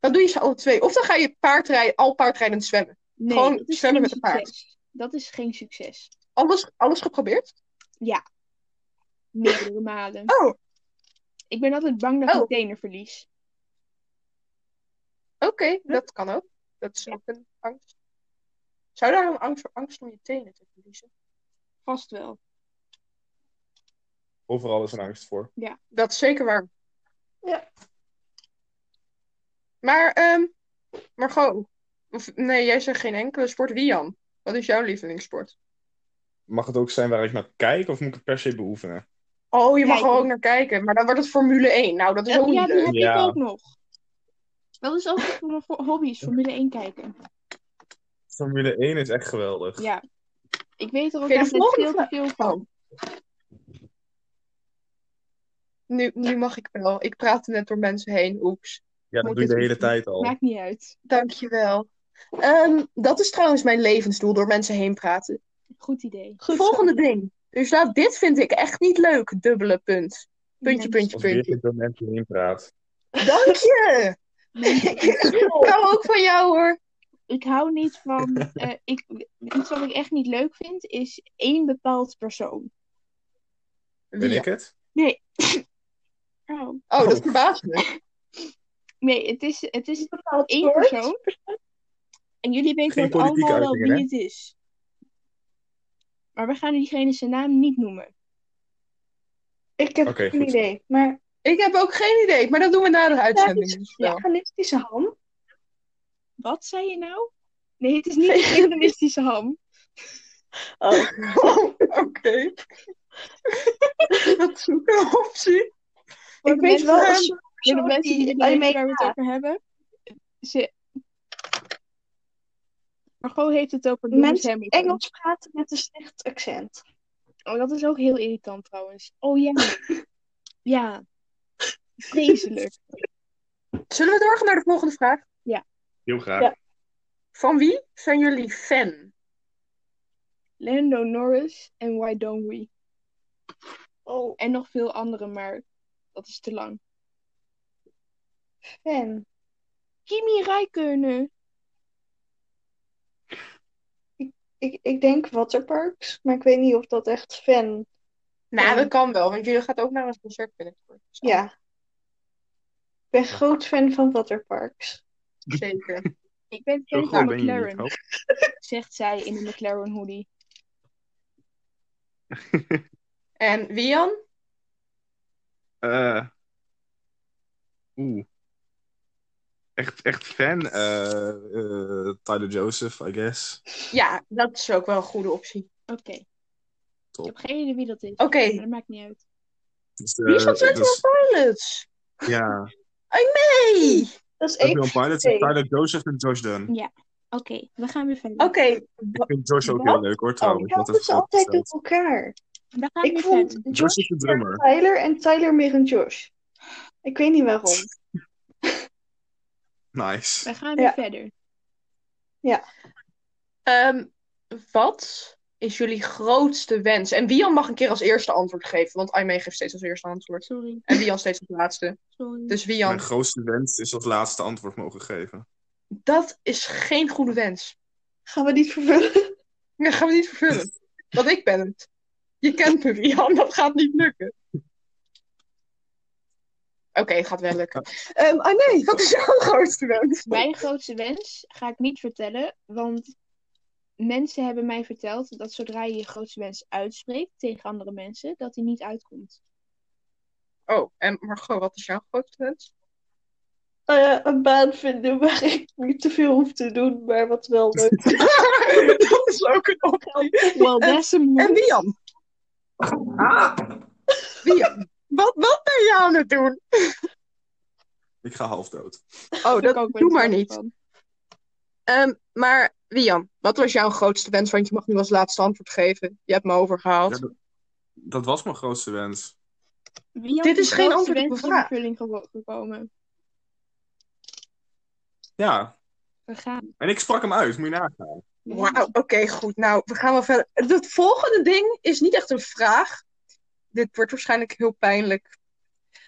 S1: Dan doe je ze alle twee. Of dan ga je paardrijden, al paardrijdend zwemmen.
S5: Nee,
S1: Gewoon
S5: dat is
S1: zwemmen
S5: geen
S1: met een paard.
S5: succes. Dat is geen succes.
S1: Alles, alles geprobeerd?
S5: Meerdere malen.
S1: Oh, oké.
S5: Ik ben altijd bang dat
S1: Oh.
S5: ik tenen verlies.
S1: Dat kan ook. Dat is ook een angst. Zou daar een angst voor angst om je tenen te verliezen?
S5: Vast wel.
S2: overal is een angst voor.
S1: Dat is zeker waar.
S3: Ja.
S1: Maar, ehm Margot. Of, nee, jij zegt geen enkele sport. Wian, wat is jouw lievelingssport?
S2: Mag het ook zijn waar ik naar kijk of moet ik het per se beoefenen?
S1: Oh, je mag er
S5: Kijken.
S1: ook naar kijken. Maar dan wordt het Formule 1. Nou, dat is ook
S5: ja,
S1: niet
S5: die
S1: leuk.
S5: heb ik
S2: Ja.
S5: ook nog. Dat is ook een van mijn vo- hobby's, Formule 1 kijken.
S2: Formule 1 is echt geweldig.
S5: Ja. Ik weet er ook
S1: Oké, de
S5: altijd
S1: volgende
S5: veel te
S1: vraag.
S5: veel van.
S1: Nu, nu mag ik wel. Ik praatte net door mensen heen. Oeps.
S2: Ja, dat
S5: Moet
S2: doe je de
S5: het
S2: hele
S5: niet.
S2: tijd al.
S5: Maakt niet uit.
S1: Dankjewel. Ehm, dat is trouwens mijn levensdoel, door mensen heen praten.
S5: Goed idee.
S3: Goed zo.
S1: Volgende ding. Dus nou, dit vind ik echt niet leuk, dubbele punt. Puntje, puntje,
S2: Als weer
S1: puntje.
S2: met mensen heen praat.
S1: Dank je!
S5: Mensen- mensen-
S1: Ik hou ook van jou hoor.
S5: ik hou niet van. eh, ik, iets wat ik echt niet leuk vind is één bepaald persoon.
S2: Ben
S1: Lia.
S2: ik het?
S5: Oh.
S1: Oh, dat
S2: Oh.
S1: verbaast me.
S5: Nee, het is, het is
S3: bepaald
S5: één
S3: soort.
S5: persoon. En jullie weten
S2: Geen
S5: ook
S2: politieke
S5: allemaal wel
S2: uitingen,
S5: wie
S2: hè?
S5: het is. Maar we gaan diegene zijn naam niet noemen.
S3: Ik heb
S2: Oké,
S3: geen
S2: goed.
S3: idee. Maar
S1: Ik heb ook geen idee, maar dat doen we na de uitzending. dus wel.
S3: veganistische ham?
S5: Wat zei je nou? Nee, het is niet een veganistische ham.
S3: Oh,
S1: Oké. dat is ook een optie.
S5: Voor
S3: ik weet
S5: de mensen-
S3: wel een
S1: ehm,
S3: soort
S5: Voor de
S3: persoon
S5: mensen die
S3: die
S5: niet
S3: bij
S5: weten
S3: mee
S5: waar we het
S3: gaat.
S5: over hebben. Ze... Margot heeft het over Lewis
S3: Mensen
S5: Hamilton.
S3: Engels praten met een slecht accent.
S5: Oh, dat is ook heel irritant trouwens. Oh ja. ja. Vreselijk.
S1: Zullen we doorgaan naar de volgende vraag?
S2: Heel graag.
S3: Ja.
S1: Van wie zijn jullie fan?
S5: Lando Norris en Why Don't We.
S3: Oh,
S5: En nog veel andere, maar dat is te lang.
S3: fan.
S5: Kimi Räikkönen.
S3: Ik, ik denk Waterparks, maar ik weet niet of dat echt fan.
S1: Nou,
S3: Ja.
S1: dat kan wel, want jullie gaat ook naar ons concert binnenkort. Dus
S3: Ja. Ik ben groot fan van Waterparks.
S1: Zeker.
S5: Ik ben
S2: Zo
S5: fan
S2: groot
S5: van
S2: ben je niet,
S5: McLaren,
S2: hoop.
S5: zegt zij in een McLaren hoodie.
S1: En Wian?
S2: Eh, Oeh. Echt, echt fan. eh, eh, Tyler Joseph, I guess.
S1: Ja, dat is ook wel een goede optie.
S5: Oké. Ik
S2: Top.
S5: heb geen idee wie dat is.
S1: Oké,
S5: Maar dat maakt niet uit.
S2: Dus,
S1: wie is
S2: eh,
S1: dat nou? Twenty
S2: dus-
S1: One Pilots?
S2: Ja,
S1: Hey!
S3: Dat is één.
S2: Twenty One Pilots,
S3: twee.
S2: Tyler Joseph en Josh Dunn.
S5: Oké, we gaan weer verder.
S1: Oké,
S2: Ik vind Josh ook
S3: Wat?
S2: heel leuk hoor, trouwens.
S3: Dat
S2: Wat een
S3: is Oh, dus altijd door
S2: voorgesteld.
S3: elkaar.
S5: We gaan
S3: Ik
S5: weer
S3: vond
S5: verder.
S2: Josh
S3: Josh
S2: is de drummer.
S3: Tyler en Tyler meer een Josh. Ik weet niet waarom.
S2: Nice.
S5: We gaan weer
S3: Ja.
S5: verder.
S1: ehm, wat is jullie grootste wens? En Wian mag een keer als eerste antwoord geven, want Aimee geeft steeds als eerste antwoord.
S5: Sorry,
S1: En Wian steeds als laatste.
S5: sorry.
S1: Dus
S2: Mijn
S1: Wian,
S2: grootste wens is als laatste antwoord mogen geven.
S1: dat is geen goede wens.
S3: Gaan we niet vervullen?
S1: Dat gaan we niet vervullen. Want ik ben het. Je kent me, Wian. Dat gaat niet lukken. Oké, het gaat wel lukken. Ehm, ah nee, wat is jouw grootste wens?
S5: Mijn grootste wens ga ik niet vertellen, want mensen hebben mij verteld dat zodra je je grootste wens uitspreekt tegen andere mensen, dat die niet uitkomt.
S1: Oh, en Margot, wat is jouw grootste wens?
S3: Eh, een baan vinden waar ik niet te veel hoef te doen, maar wat wel leuk is.
S1: dat is ook een optie.
S5: Well, that's a move.
S1: En Wian? Ah. Wian, wat, wat ben je aan het doen?
S2: Ik ga half dood.
S1: Oh,
S5: Daar
S1: dat
S5: kan ik
S1: doe
S5: wel
S1: maar
S5: iets
S1: niet.
S5: van.
S1: Ehm, maar Wian, wat was jouw grootste wens? Want je mag nu als laatste antwoord geven. Je hebt me overgehaald.
S2: Ja, dat, dat was mijn grootste wens.
S5: Wie had
S1: Dit
S5: die
S1: is geen
S5: grootste
S1: antwoord op
S5: wens
S1: een
S5: in
S1: vraag.
S5: vervulling gewo- gekomen?
S2: Ja,
S5: We gaan.
S2: en ik sprak hem uit, moet je nagaan.
S1: Wauw, oké, goed. Nou, we gaan wel verder. Het volgende ding is niet echt een vraag. Dit wordt waarschijnlijk heel pijnlijk.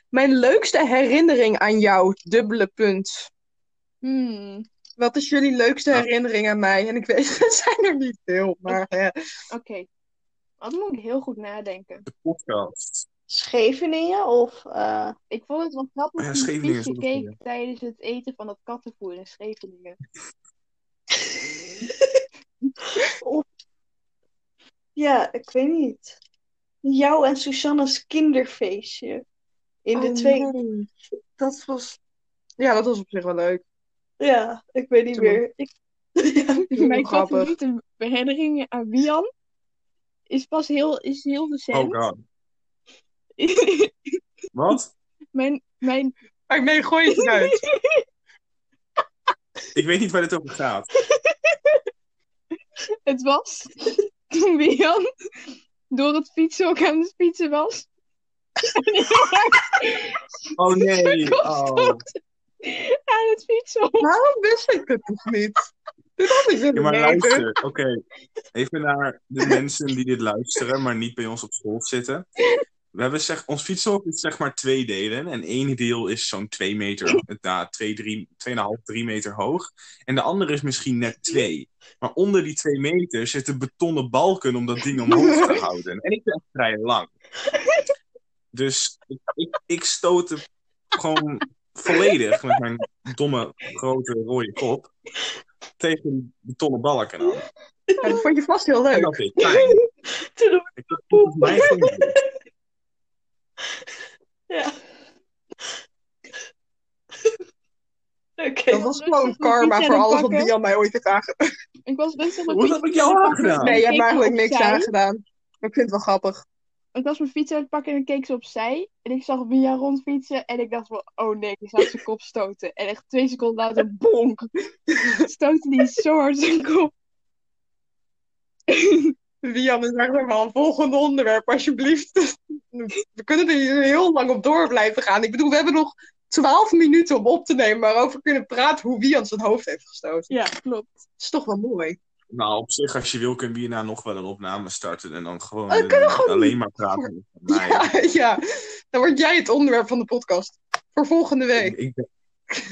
S1: Mijn leukste herinnering aan jou, dubbele punt.
S5: Hmm,
S1: Wat is jullie leukste
S2: Ja.
S1: herinnering aan mij? En ik weet, er zijn er niet veel, maar hè.
S5: Oké. Dat moet ik heel goed nadenken.
S2: De podcast.
S3: Scheveningen of eh,
S5: Ik vond het wel grappig
S2: Ja,
S5: dat je
S2: Scheveningen is
S5: fietsje
S2: ook een goeie.
S5: keek tijdens het eten van dat kattenvoer in Scheveningen.
S3: ja, ik weet niet. Jou en Susanna's kinderfeestje. In de twee.
S1: Oh, Dat was... Ja, dat was op zich wel leuk.
S3: Ja, ik weet niet
S1: Toen nog.
S3: meer. Ik... Ja.
S1: Heel
S5: Mijn
S1: grappig.
S5: favoriete herinnering aan Wian is pas heel, is heel
S2: Oh
S5: recent.
S2: god. Wat?
S5: mijn, mijn,
S1: Maar nee, gooi het uit.
S2: Ik weet niet waar dit over gaat.
S5: het was toen Wian door het fietsen ook aan het fietsen was. En heel hard
S2: Oh nee.
S5: Kom,
S2: Oh.
S5: aan het fietsen was.
S1: Waarom wist ik het nog niet? Dit had ik
S2: Ja,
S1: willen
S2: maar
S1: weten.
S2: luister. Oké. Even naar de mensen die dit luisteren, maar niet bij ons op school zitten. We hebben zeg, ons fietshok is zeg maar twee delen. En één deel is zo'n 2 meter, nou, 2, 3, 2,5, 3 meter hoog. En de andere is misschien net 2. Maar onder die 2 meter zitten betonnen balken om dat ding omhoog te houden. En ik ben echt vrij lang. Dus ik, ik, ik stootte gewoon volledig met mijn domme grote rode kop tegen die betonnen balken aan.
S1: Ja, dat vond je vast heel leuk.
S2: En dat vind ik fijn.
S3: Toen op-
S2: Ik heb volgens mij geen
S3: Ja. Oké.
S1: Dat was gewoon karma voor alles wat die aan mij ooit heeft aangedaan.
S5: Ik was bezig met
S2: Wat heb ik jou aangedaan?
S1: Nee, je hebt
S5: Ik
S1: me eigenlijk niks
S5: opzij.
S1: aangedaan. Maar ik vind het wel grappig.
S5: Ik was mijn fiets aan het pakken en ik keek ze opzij. En ik zag Mia rondfietsen. En ik dacht van, oh nee, die zou zijn kop stoten. En echt twee seconden later, bonk! Stootte die zo hard zijn kop.
S1: Wian is echt maar een volgende onderwerp, alsjeblieft. We kunnen er hier heel lang op door blijven gaan. Ik bedoel, we hebben nog twaalf minuten om op te nemen, maar over kunnen praten hoe Wian zijn hoofd heeft gestoten.
S5: Ja, klopt.
S1: Dat is toch wel mooi.
S2: Nou, op zich, als je wil, kunnen we hierna nog wel een opname starten. En dan gewoon,
S1: Oh, dat
S2: eh,
S1: kunnen we gewoon
S2: alleen
S1: doen.
S2: maar praten. met mij.
S5: Ah,
S1: Ja, ja. Dan word jij het onderwerp van de podcast. Voor volgende
S2: ik,
S1: week.
S2: ik, ben,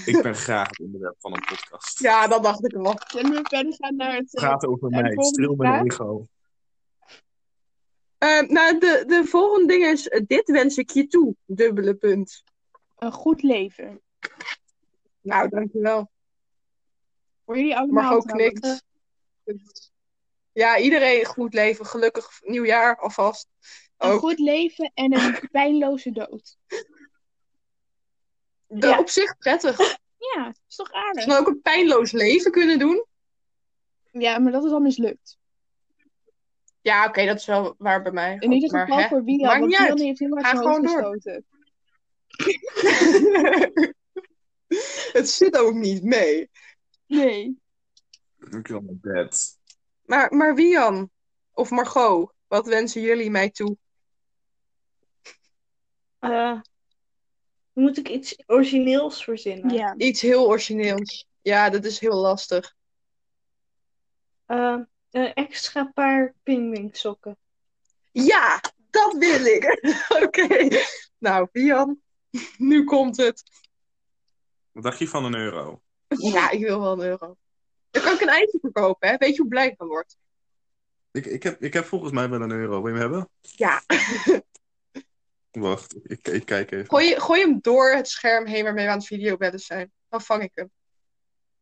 S2: ik ben graag het onderwerp van een podcast.
S1: Ja, dat dacht ik wel.
S5: Zullen we verder gaan naar het... eh,
S2: Praat over
S5: En de
S2: mij,
S5: volgende
S2: streel mijn
S5: vraag?
S2: ego.
S1: Eh, nou, de, de volgende ding is, eh, dit wens ik je toe, dubbele punt.
S5: een goed leven.
S1: Nou, dankjewel.
S5: Voor jullie allemaal
S1: Margot
S5: trouwens.
S1: knikt. Ja, iedereen goed leven, gelukkig nieuwjaar alvast.
S5: Een
S1: Ook.
S5: goed leven en een pijnloze dood.
S1: De-
S3: Ja.
S1: Op zich prettig. We
S5: Ja, is toch aardig?
S1: zouden ook een pijnloos leven kunnen doen.
S5: Ja, maar dat is al mislukt.
S1: Ja, oké, dat is wel waar bij mij.
S5: In ieder
S1: maar,
S5: geval
S1: hè?
S5: voor Wian,
S1: Maakt
S5: want
S1: niet
S5: Wian
S1: uit.
S5: heeft heel hard
S1: Ga
S5: zijn hoofd
S1: gewoon door.
S5: gestoten.
S1: Het zit ook niet mee.
S5: Nee.
S2: Ik wil naar bed.
S1: Maar, maar Wian of Margot, wat wensen jullie mij toe?
S3: Eh, moet ik iets origineels verzinnen?
S5: Ja.
S1: Iets heel origineels. Ja, dat is heel lastig.
S3: Eh, een extra paar pinguïnsokken.
S1: Ja, dat wil ik. Oké. Nou, Wian, nu komt het.
S2: Wat dacht je van een euro?
S1: Ja, ik wil wel een euro. Dan kan ik een ijsje verkopen, hè? Weet je hoe blij ik van word?
S2: Ik, ik, heb, ik heb volgens mij wel een euro. Wil je hem hebben?
S1: Ja.
S2: Wacht, ik, ik kijk even.
S1: Gooi, gooi hem door het scherm heen waarmee we aan het videobellen zijn. Dan vang ik hem.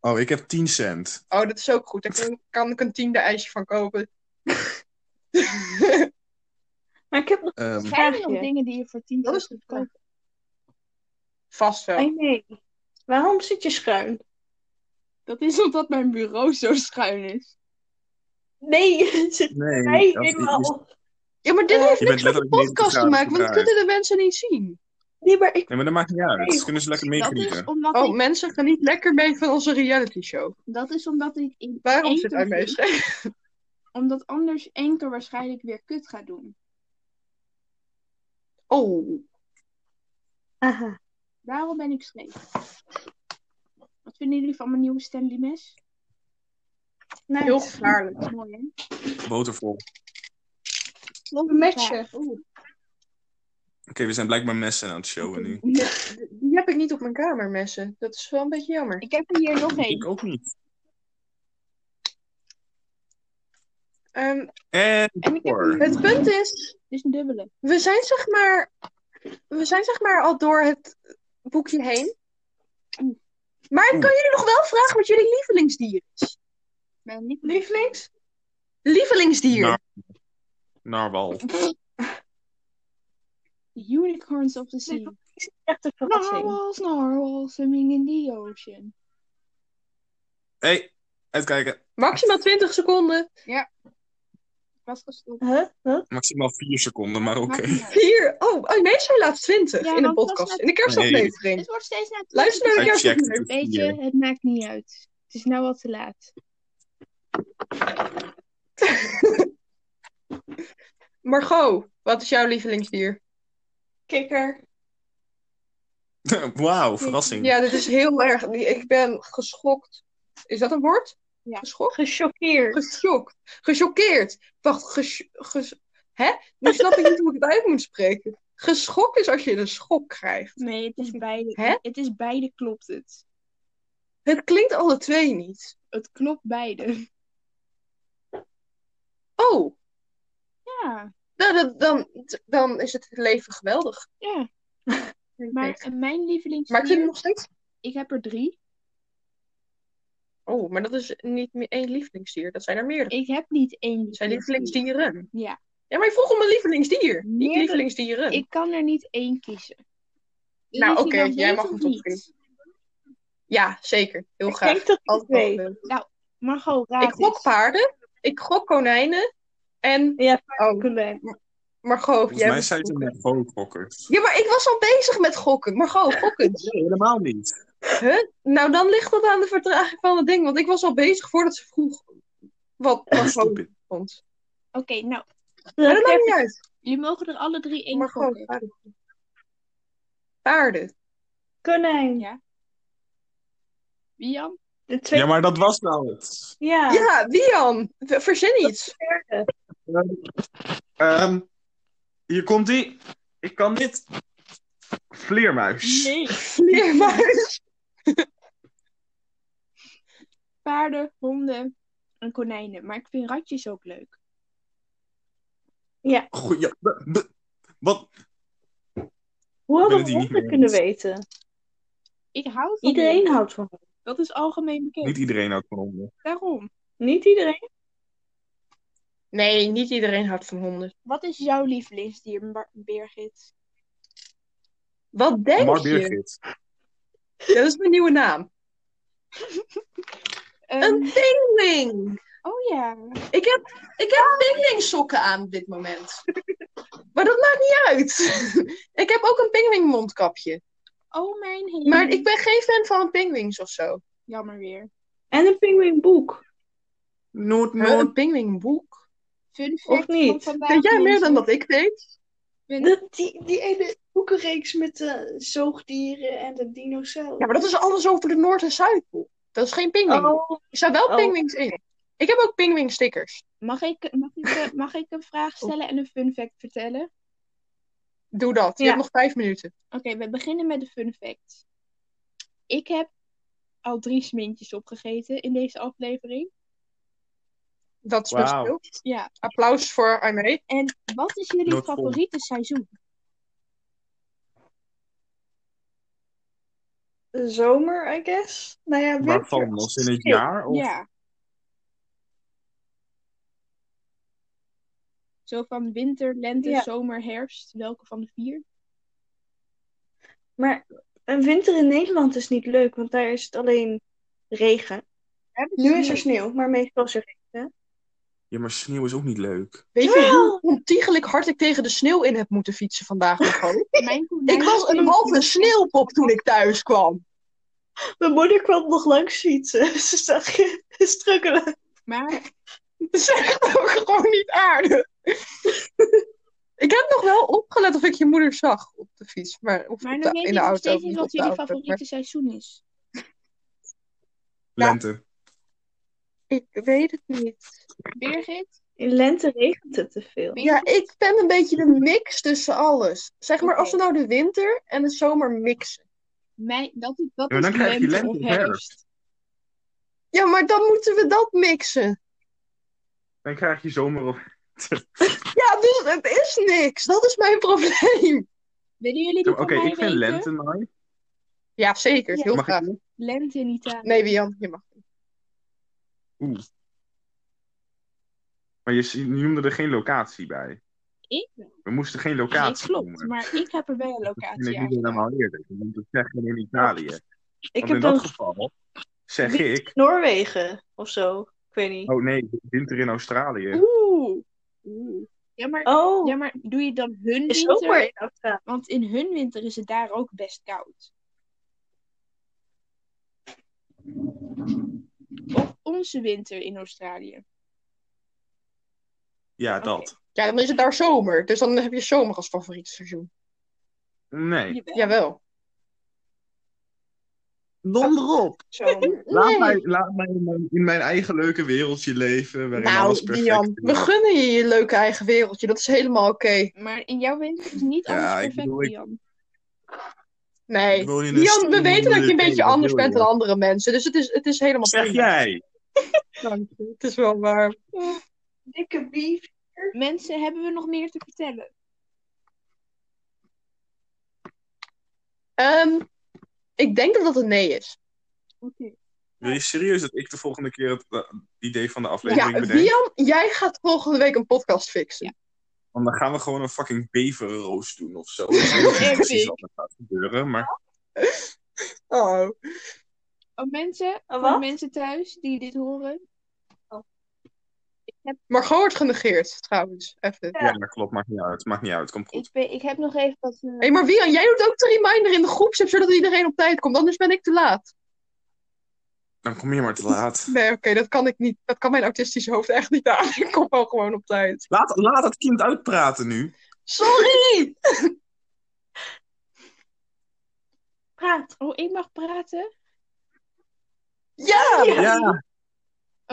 S2: Oh, ik heb 10 cent.
S1: Oh, dat is ook goed. Daar kan, kan ik een tiende ijsje van kopen.
S3: Maar ik heb nog
S2: Ehm,
S5: Zijn er
S3: Vraagje.
S5: nog dingen die je voor 10
S1: Dat
S5: euro
S1: is
S5: kunt
S1: goed.
S5: kopen?
S1: Vast wel.
S3: Ai, nee. Waarom zit je schuin?
S5: Dat is omdat mijn bureau zo schuin is.
S3: Nee, het zit
S2: nee,
S3: mij
S2: dat- je,
S3: helemaal.
S1: Ja, maar dit
S3: Eh,
S1: heeft
S2: je
S1: niks
S2: bent
S1: met de
S2: letterlijk 90
S1: podcast te
S2: graden
S1: maken, want dat
S2: gedraaid.
S1: kunnen de mensen niet zien.
S3: Nee, maar ik.
S2: Nee, maar dat maakt niet uit.
S3: Nee.
S2: kunnen ze lekker
S5: Dat is
S2: meegenieten.
S5: omdat
S1: Oh,
S5: ik,
S1: mensen gaan niet lekker mee van onze reality show.
S5: dat is omdat ik in
S1: Waarom
S5: één
S1: zit
S5: keer
S1: hij mee?
S5: vind. Omdat anders één keer waarschijnlijk weer kut gaat doen.
S1: Oh,
S3: Aha.
S5: Daarom ben ik scheef. Wat vinden jullie van mijn nieuwe Stanley mes?
S3: Nice.
S1: heel gevaarlijk.
S5: Dat is mooi, hè?
S2: Botervol. Oké,
S3: Een matchen.
S5: Ja, oeh.
S2: we zijn blijkbaar messen aan het showen nu.
S1: Die heb, die heb ik niet op mijn kamer, messen. Dat is wel een beetje jammer.
S5: Ik heb er hier nog één.
S2: Ik ook niet.
S1: Ehm,
S2: En,
S5: En ik heb
S2: voor.
S5: hier-
S1: het punt is,
S5: Dit is een dubbele.
S1: We zijn zeg maar, we zijn zeg maar al door het boekje heen. Maar ik kan jullie nog wel vragen wat jullie lievelingsdier is.
S5: Mijn lief-
S1: Lievelings? Lievelingsdier.
S2: Nar- Narwal.
S5: The unicorns of the sea.
S3: Echt een
S2: Nou.
S3: verrassing.
S5: Narwhals, narwhals, swimming in the ocean.
S2: Hé, hey, uitkijken.
S1: Maximaal 20 seconden.
S5: Ik was gestopt.
S3: Huh? Huh?
S2: Maximaal 4 seconden, maar oké.
S5: Maakt niet uit.
S1: Vier. Oh, oh nee, zij laat 20
S5: Ja,
S1: in de
S5: want dat is
S1: podcast.
S5: net-
S1: In de kerstaflevering.
S5: Het wordt steeds naar
S1: Luister naar de
S2: Hij checkt
S1: kerstaflevering.
S2: het
S5: Weet
S2: hier.
S5: je, het maakt niet uit. Het is nou al te laat.
S1: Margot, wat is jouw lievelingsdier?
S3: Kikker.
S2: Wauw, verrassing.
S1: Ja, dit is heel erg. Ik ben geschokt. Is dat een woord?
S5: Ja.
S1: Geschokt?
S3: Gechoqueerd.
S1: Geschokt. Gechoqueerd. Wacht, ges... ges- Hè? Nu snap ik niet hoe ik het uit moet spreken. Geschok is als je een schok krijgt.
S5: Nee, het is beide.
S1: Hè?
S5: Het is beide klopt het.
S1: Het klinkt alle twee niet.
S5: Het klopt beide.
S1: Oh,
S5: Ja,
S1: nou, dan, dan, dan is het leven geweldig.
S5: ja.
S1: denk
S5: Maar
S1: ik.
S5: eh, mijn lievelings.
S1: maar ik vind het nog steeds...
S5: Ik heb er drie.
S1: Oh, maar dat is niet meer één lievelingsdier. Dat zijn er meerdere.
S5: Ik heb niet één.
S1: Dat zijn
S5: lievelingsdier.
S1: lievelingsdieren.
S5: Ja.
S1: Ja, maar je vroeg om een lievelingsdier. Niet
S5: Meerdere-
S1: lievelingsdieren.
S5: Ik kan er niet één kiezen.
S1: Nou,
S5: Is die
S1: oké, jij
S5: beter
S1: mag
S5: of
S1: hem toch
S5: niet?
S1: Ja, zeker. Heel
S3: Ik
S1: graag.
S3: denk dat ik
S1: Altijd wel
S3: weet. Ah, dus-
S1: leuk.
S5: Margot, raad
S1: Ik gok
S5: eens.
S1: paarden. Ik gok konijnen. En...
S3: Ja,
S1: Oh,
S3: konijn.
S1: Margot,
S2: Volgens
S1: jij
S2: mij
S1: moet
S2: zijn ze
S1: gokken.
S2: net gewoon gokkers.
S1: Ja, maar ik was al bezig met gokken. Margot, gokken.
S2: Nee, helemaal niet.
S1: Huh? Nou, dan ligt dat aan de vertraging van het ding. Want ik was al bezig voordat ze vroeg wat Margot
S2: Stupid.
S1: vond.
S5: Oké, nou,
S1: Maar dat maakt niet uit.
S5: jullie mogen er alle drie één
S1: Margot,
S5: gokken.
S1: paarden. Paarden.
S3: Konijn.
S5: Ja. Wie Jan?
S3: De twee
S2: Ja, maar dat was nou het.
S3: Ja,
S1: Ja, Wian, ver- verzin iets.
S3: derde.
S2: Ehm, hier komt ie. Ik kan dit. Vleermuis.
S5: Nee.
S1: Vleermuis.
S5: Paarden, honden en konijnen. Maar ik vind ratjes ook leuk.
S2: Goeie. b- b- Wat?
S3: Hoe
S2: ben
S3: hadden
S2: het
S3: we
S2: hier niet
S3: honderd
S2: mee
S3: kunnen
S2: eens.
S3: weten?
S5: Ik hou van
S3: Iedereen
S5: honden.
S3: houdt van honden.
S5: Dat is algemeen bekend.
S2: Niet iedereen houdt van honden.
S5: Daarom.
S3: Niet iedereen?
S1: Nee, niet iedereen houdt van honden.
S5: Wat is jouw lievelingsdier, Mar- Birgit?
S1: Wat denk
S2: Maar
S1: je?
S2: Birgit.
S1: Dat is mijn nieuwe naam.
S5: Ehm,
S1: Een pingwing.
S5: Oh ja.
S1: Ik heb, ik heb pingwingsokken aan op dit moment. Maar dat maakt niet uit. Ik heb ook een pingwingmondkapje.
S5: Oh mijn hemel.
S1: Maar ik ben geen fan van pingwings of zo.
S5: Jammer weer.
S3: En een pinguïnboek.
S2: Noord,
S1: Huh, Een pingwingboek?
S5: Fun
S3: Of
S5: fact
S3: niet?
S5: van vandaag.
S1: Weet jij meer dan
S5: mensen.
S1: dat ik weet?
S3: Dat, die, die ene boekenreeks met de zoogdieren en de dinosaurus.
S1: Ja, maar dat is alles over de Noord- en Zuidpool. Dat is geen pingwing.
S3: Oh,
S1: Er staan wel
S3: Oh.
S1: pingwings in. Ik heb ook pingwingstickers.
S5: Mag ik, mag, ik, eh, mag ik een vraag
S1: Oh.
S5: stellen en een fun fact vertellen?
S1: Doe dat. Je
S3: Ja.
S1: hebt nog vijf minuten.
S5: Oké, we beginnen met de fun fact. Ik heb al drie smintjes opgegeten in deze aflevering.
S1: Dat is
S2: Wauw.
S1: best veel.
S5: Ja.
S1: Applaus voor Aimee.
S5: En wat is jullie
S2: Not full.
S5: favoriete seizoen?
S3: de zomer, I guess. Nou ja,
S2: Waarvan?
S3: winter.
S2: Als in het jaar? Of...
S5: Ja. Zo van winter, lente,
S3: Ja.
S5: zomer, herfst. Welke van de vier?
S3: Maar een winter in Nederland is niet leuk, want daar is het alleen regen. Nu is er sneeuw, maar meestal is er regen.
S2: Ja, maar sneeuw is ook niet leuk.
S1: Weet je
S3: Jawel.
S1: hoe ontiegelijk hard ik tegen de sneeuw in heb moeten fietsen vandaag? Margot?
S5: Mijn
S1: ik was een halve sneeuwpop toen ik thuis kwam.
S3: Mijn moeder kwam nog langs fietsen. Ze zag je strukkelen.
S5: Maar
S1: Dat is echt ook gewoon niet aardig. Ik heb nog wel opgelet of ik je moeder zag op de fiets. Maar, of
S5: Maar
S1: op
S5: dan
S1: de-
S5: weet
S1: in
S5: ik
S1: de
S5: nog
S1: auto.
S5: steeds
S1: of
S5: niet
S1: niet
S5: wat
S1: op de
S5: jullie
S1: auto, maar-
S5: favoriete seizoen is.
S1: Ja.
S2: Lente.
S1: Ik weet het niet.
S5: Birgit?
S3: In lente regent het te veel.
S1: Ja, ik ben een beetje de mix tussen alles. Zeg maar,
S5: Oké.
S1: als we nou de winter en de zomer mixen.
S5: Mijn, dat is, dat
S2: Ja,
S5: is
S2: dan krijg je lente
S5: of
S2: of
S5: herfst.
S2: herfst.
S1: Ja, maar dan moeten we dat mixen.
S2: Dan krijg je zomer op.
S1: Ja, dus het is niks. Dat is mijn probleem.
S5: Willen jullie
S2: Ja,
S5: die
S2: Oké,
S5: van mij
S2: ik vind
S5: weten?
S2: lente mooi.
S1: Ja, zeker.
S3: Ja.
S1: Heel
S2: Mag ik
S1: graag.
S2: doen?
S5: Lente in Italië.
S1: Nee, Wian, je mag.
S2: Maar je, je noemde er geen locatie bij.
S5: Ik wel.
S2: We moesten geen
S5: Nee,
S2: locatie
S5: klopt,
S2: noemen.
S5: maar ik heb er wel een
S2: En
S5: locatie
S2: ik
S5: aan.
S2: niet helemaal eerlijk. Je moet het zeggen in Italië.
S3: ik
S2: Want in
S3: heb
S2: dat
S3: een
S2: geval zeg
S3: Winter
S2: ik...
S3: in Noorwegen of zo. Ik weet niet.
S2: Oh nee, winter in Australië.
S5: Oeh. Oeh. Ja, maar,
S3: Oh,
S5: ja, maar doe je dan hun
S3: is
S5: winter?
S3: zomer in Australië.
S5: Want in hun winter is het daar ook best koud. Of onze winter in Australië.
S2: Ja, dat.
S1: Ja, dan is het daar zomer. Dus dan heb je zomer als favoriet seizoen.
S2: Nee.
S5: Jawel.
S1: Jawel.
S2: Donder op.
S1: Zo.
S2: Laat mij, laat mij in, mijn, in mijn eigen leuke wereldje leven. Waarin alles
S1: Nou,
S2: perfect
S1: Jan,
S2: is.
S1: we gunnen je je leuke eigen wereldje. Dat is helemaal oké.
S5: Maar in jouw winter is niet
S2: Ja,
S5: alles
S2: ik
S5: perfect,
S2: bedoel, ik-
S5: Jan.
S1: Nee.
S2: Ik woon in een
S1: Jan, we weten dat je een
S2: stedelijk
S1: beetje
S2: leven,
S1: anders
S2: wil
S1: bent
S2: je?
S1: dan andere mensen. Dus het is, het is helemaal
S2: Zeg
S1: prima.
S2: jij.
S1: Dank je. Het is wel waar.
S3: Dikke bief.
S5: Mensen, hebben we nog meer te vertellen?
S1: Ehm, ik denk dat dat een nee is.
S5: Oké.
S2: Wil je serieus dat ik de volgende keer het eh, idee van de aflevering
S1: Ja,
S2: bedenk?
S1: Jan, jij gaat volgende week een podcast fixen.
S2: Want dan gaan we gewoon een fucking beverroos doen of zo. Ik weet niet precies wat er gaat gebeuren, maar...
S1: Oh.
S5: Oh, mensen,
S3: Een
S5: voor
S3: wat?
S5: de mensen thuis die dit horen.
S1: Margot wordt genegeerd, trouwens. Even.
S2: Ja, dat klopt. Maakt niet uit. Maakt niet uit. Komt goed.
S5: Ik, ben- ik heb nog even wat... eh,
S1: Hé, hey, maar Wian, jij doet ook de reminder in de groepsapp, zodat iedereen op tijd komt. Anders ben ik te laat.
S2: Dan kom je maar te laat.
S1: Nee, oké, dat kan ik niet. Dat kan mijn autistische hoofd echt niet aan. Ik kom wel gewoon op tijd.
S2: Laat, laat het kind uitpraten nu.
S1: Sorry!
S3: Praat.
S5: Oh, ik mag praten?
S1: Ja!
S2: Ja.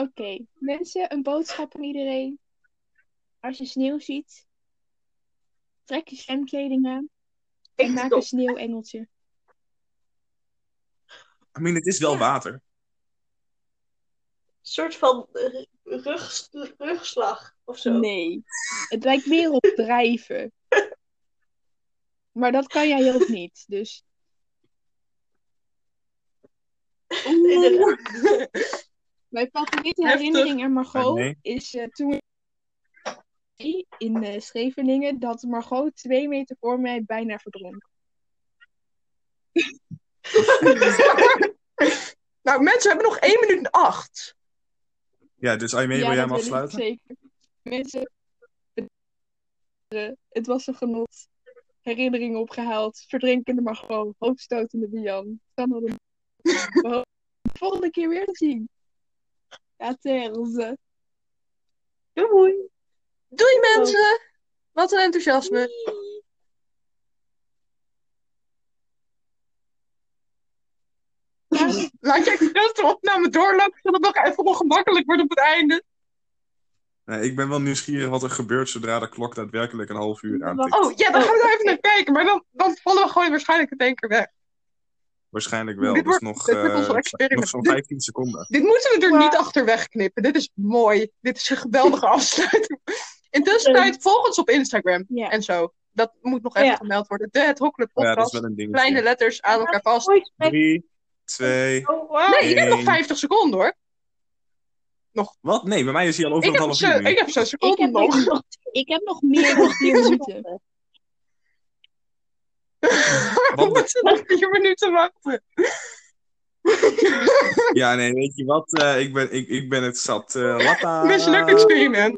S5: Oké. Mensen, een boodschap aan iedereen. Als je sneeuw ziet, trek je zwemkleding aan en maak een sneeuwengeltje.
S2: I mean, het is wel water.
S3: soort van eh, rug, rugslag of zo.
S5: Nee. Het lijkt meer op drijven. Maar dat kan jij ook niet, dus... Mijn favoriete
S1: Heftig.
S5: herinnering aan Margot
S2: Ah, nee.
S5: is eh, toen we in eh, Scheveningen dat Margot twee meter voor mij bijna verdronk.
S1: nou, mensen, we hebben nog 1 minuut en 8.
S2: Ja, dus Aimee, wil jij
S5: dat
S2: hem
S5: weet ik
S2: afsluiten?
S5: zeker. Mensen, bedankt. het was een genot. Herinneringen opgehaald, verdrinkende Margot, hoofdstotende Bian. Dan hadden we We hopen de volgende keer weer te zien. Ja, eh. terwijl
S3: Doei.
S1: Doei, mensen! Wat een enthousiasme. Laat jij dus de opname doorlopen, zodat het nog even ongemakkelijk wordt op het einde.
S2: Nee, ik ben wel nieuwsgierig wat er gebeurt zodra de klok daadwerkelijk een half uur aantikt.
S1: Oh, ja, dan gaan we daar even naar kijken. Maar dan, dan vallen we gewoon waarschijnlijk het denker weg.
S2: Waarschijnlijk wel.
S1: Dit
S2: Dus
S1: wordt-
S2: nog,
S1: dit wordt
S2: eh,
S1: ons experiment.
S2: nog zo'n 15 seconden.
S1: Dit moeten we er niet achter wegknippen. Dit is mooi. Dit is een geweldige afsluiting. Intussen tijd, volg ons op Instagram
S5: Ja.
S1: en zo. Dat moet nog even
S3: Ja.
S1: gemeld worden. De Het Hokclub
S2: Ja, dat is
S1: Podcast.
S2: wel een
S1: Kleine
S2: dingetje.
S1: letters aan elkaar vast.
S3: Ooit met-
S2: 3, 2...
S3: Oh, wauw.
S1: Nee, ik heb nog
S2: Eén.
S1: 50 seconden hoor.
S2: Wat? Nee, bij mij is hij al over
S1: Ik
S2: een
S1: heb,
S2: half
S1: zo,
S2: uur nu.
S1: ik heb zo'n
S5: Ik
S1: seconde
S5: heb,
S1: nog.
S5: nog, ik heb nog meer dan vier minuten.
S1: We moeten nog 4 minuten wachten.
S2: Ja, nee, weet je wat? Eh, ik, ben, ik, ik ben het zat. eh latta. Ah.
S1: Mislukt experiment.